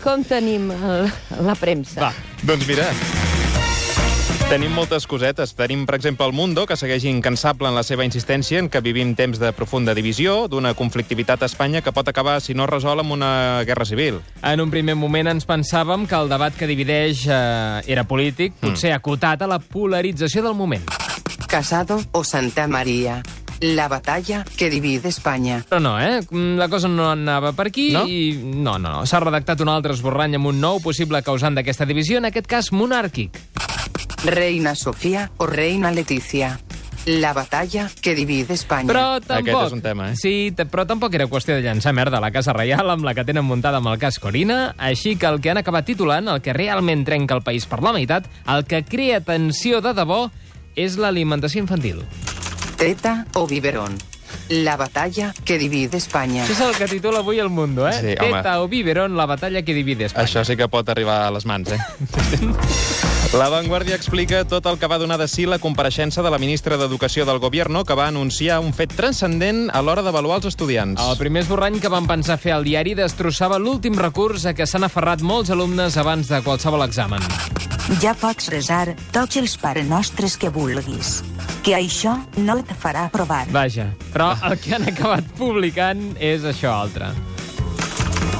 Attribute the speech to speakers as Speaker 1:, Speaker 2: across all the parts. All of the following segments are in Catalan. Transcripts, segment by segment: Speaker 1: Com tenim el, la premsa?
Speaker 2: Va, doncs mira... Tenim moltes cosetes. Tenim, per exemple, el Mundo, que segueix incansable en la seva insistència en que vivim temps de profunda divisió, d'una conflictivitat a Espanya que pot acabar, si no es resol, amb una guerra civil.
Speaker 3: En un primer moment ens pensàvem que el debat que divideix eh, era polític,
Speaker 2: Hmm.
Speaker 3: potser acotat a la polarització del moment.
Speaker 4: Casado o Santa María. La batalla que divide España.
Speaker 3: Però no, eh? Mm, La cosa no anava per aquí
Speaker 2: No?
Speaker 3: i... No, no, no. S'ha redactat un altre esborrany amb un nou possible causant d'aquesta divisió, en aquest cas monàrquic.
Speaker 4: Reina Sofía o Reina Leticia. La batalla que divide España.
Speaker 3: Però tampoc...
Speaker 2: Hmm. Aquest és un tema, eh?
Speaker 3: Sí, t- però tampoc era qüestió de llançar merda a la Casa Reial amb la que tenen muntada amb el cas Corina, així que el que han acabat titulant, el que realment trenca el país per la meitat, el que crea tensió de debò, és l'alimentació infantil.
Speaker 4: Teta o biberón. La batalla que divide España.
Speaker 3: Això és el que titula avui El Mundo, eh?
Speaker 2: Sí, home.
Speaker 3: Teta o biberon, la batalla que divide Espanya.
Speaker 2: Això sí que pot arribar a les mans, eh? La Vanguardia explica tot el que va donar de si la compareixença de la ministra d'Educació del Gobierno, que va anunciar un fet transcendent a l'hora d'avaluar els estudiants.
Speaker 3: El primer esborrany que van pensar fer al diari destrossava l'últim recurs a què s'han aferrat molts alumnes abans de qualsevol examen.
Speaker 5: Ja pots resar tots els parenostres que vulguis, que això no et farà provar.
Speaker 3: Vaja, però
Speaker 2: Ah.
Speaker 3: el que han acabat publicant és això altre.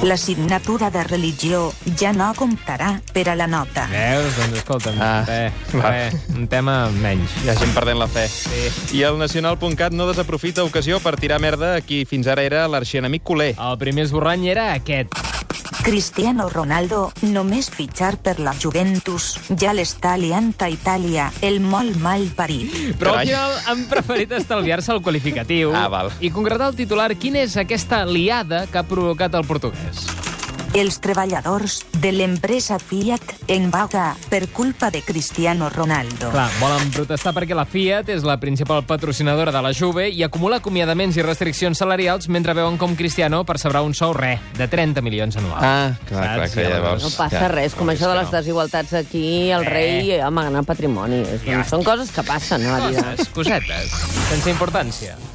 Speaker 5: L'assignatura de religió ja no comptarà per a la nota.
Speaker 3: Veus? Doncs escolta'm,
Speaker 2: Ah,
Speaker 3: eh,
Speaker 2: va.
Speaker 3: eh, un tema menys.
Speaker 2: Hi ha gent perdent la fe. Sí. I el nacional.cat no desaprofita ocasió per tirar merda a qui fins ara era l'arxienemic culer.
Speaker 3: El primer esborrany era aquest.
Speaker 5: Cristiano Ronaldo, només fitxar per la Juventus, ja l'està liant a Itàlia, el molt mal parit.
Speaker 3: Però al
Speaker 2: Carai.
Speaker 3: final han preferit estalviar-se el qualificatiu
Speaker 2: Ah, val.
Speaker 3: i concretar el titular quina és aquesta liada que ha provocat el portuguès.
Speaker 5: Els treballadors de l'empresa Fiat en vaga per culpa de Cristiano Ronaldo.
Speaker 3: Clar, volen protestar perquè la Fiat és la principal patrocinadora de la Juve i acumula acomiadaments i restriccions salarials mentre veuen com Cristiano percebrà un sou re de 30 milions anuals.
Speaker 2: Ah, clar, clar,
Speaker 3: Saps?
Speaker 2: doncs que ja veus.
Speaker 1: No passa res, com això de les desigualtats aquí, el rei amagant el patrimoni. És- Són coses que passen a la vida.
Speaker 3: Coses, cosetes, sense importància.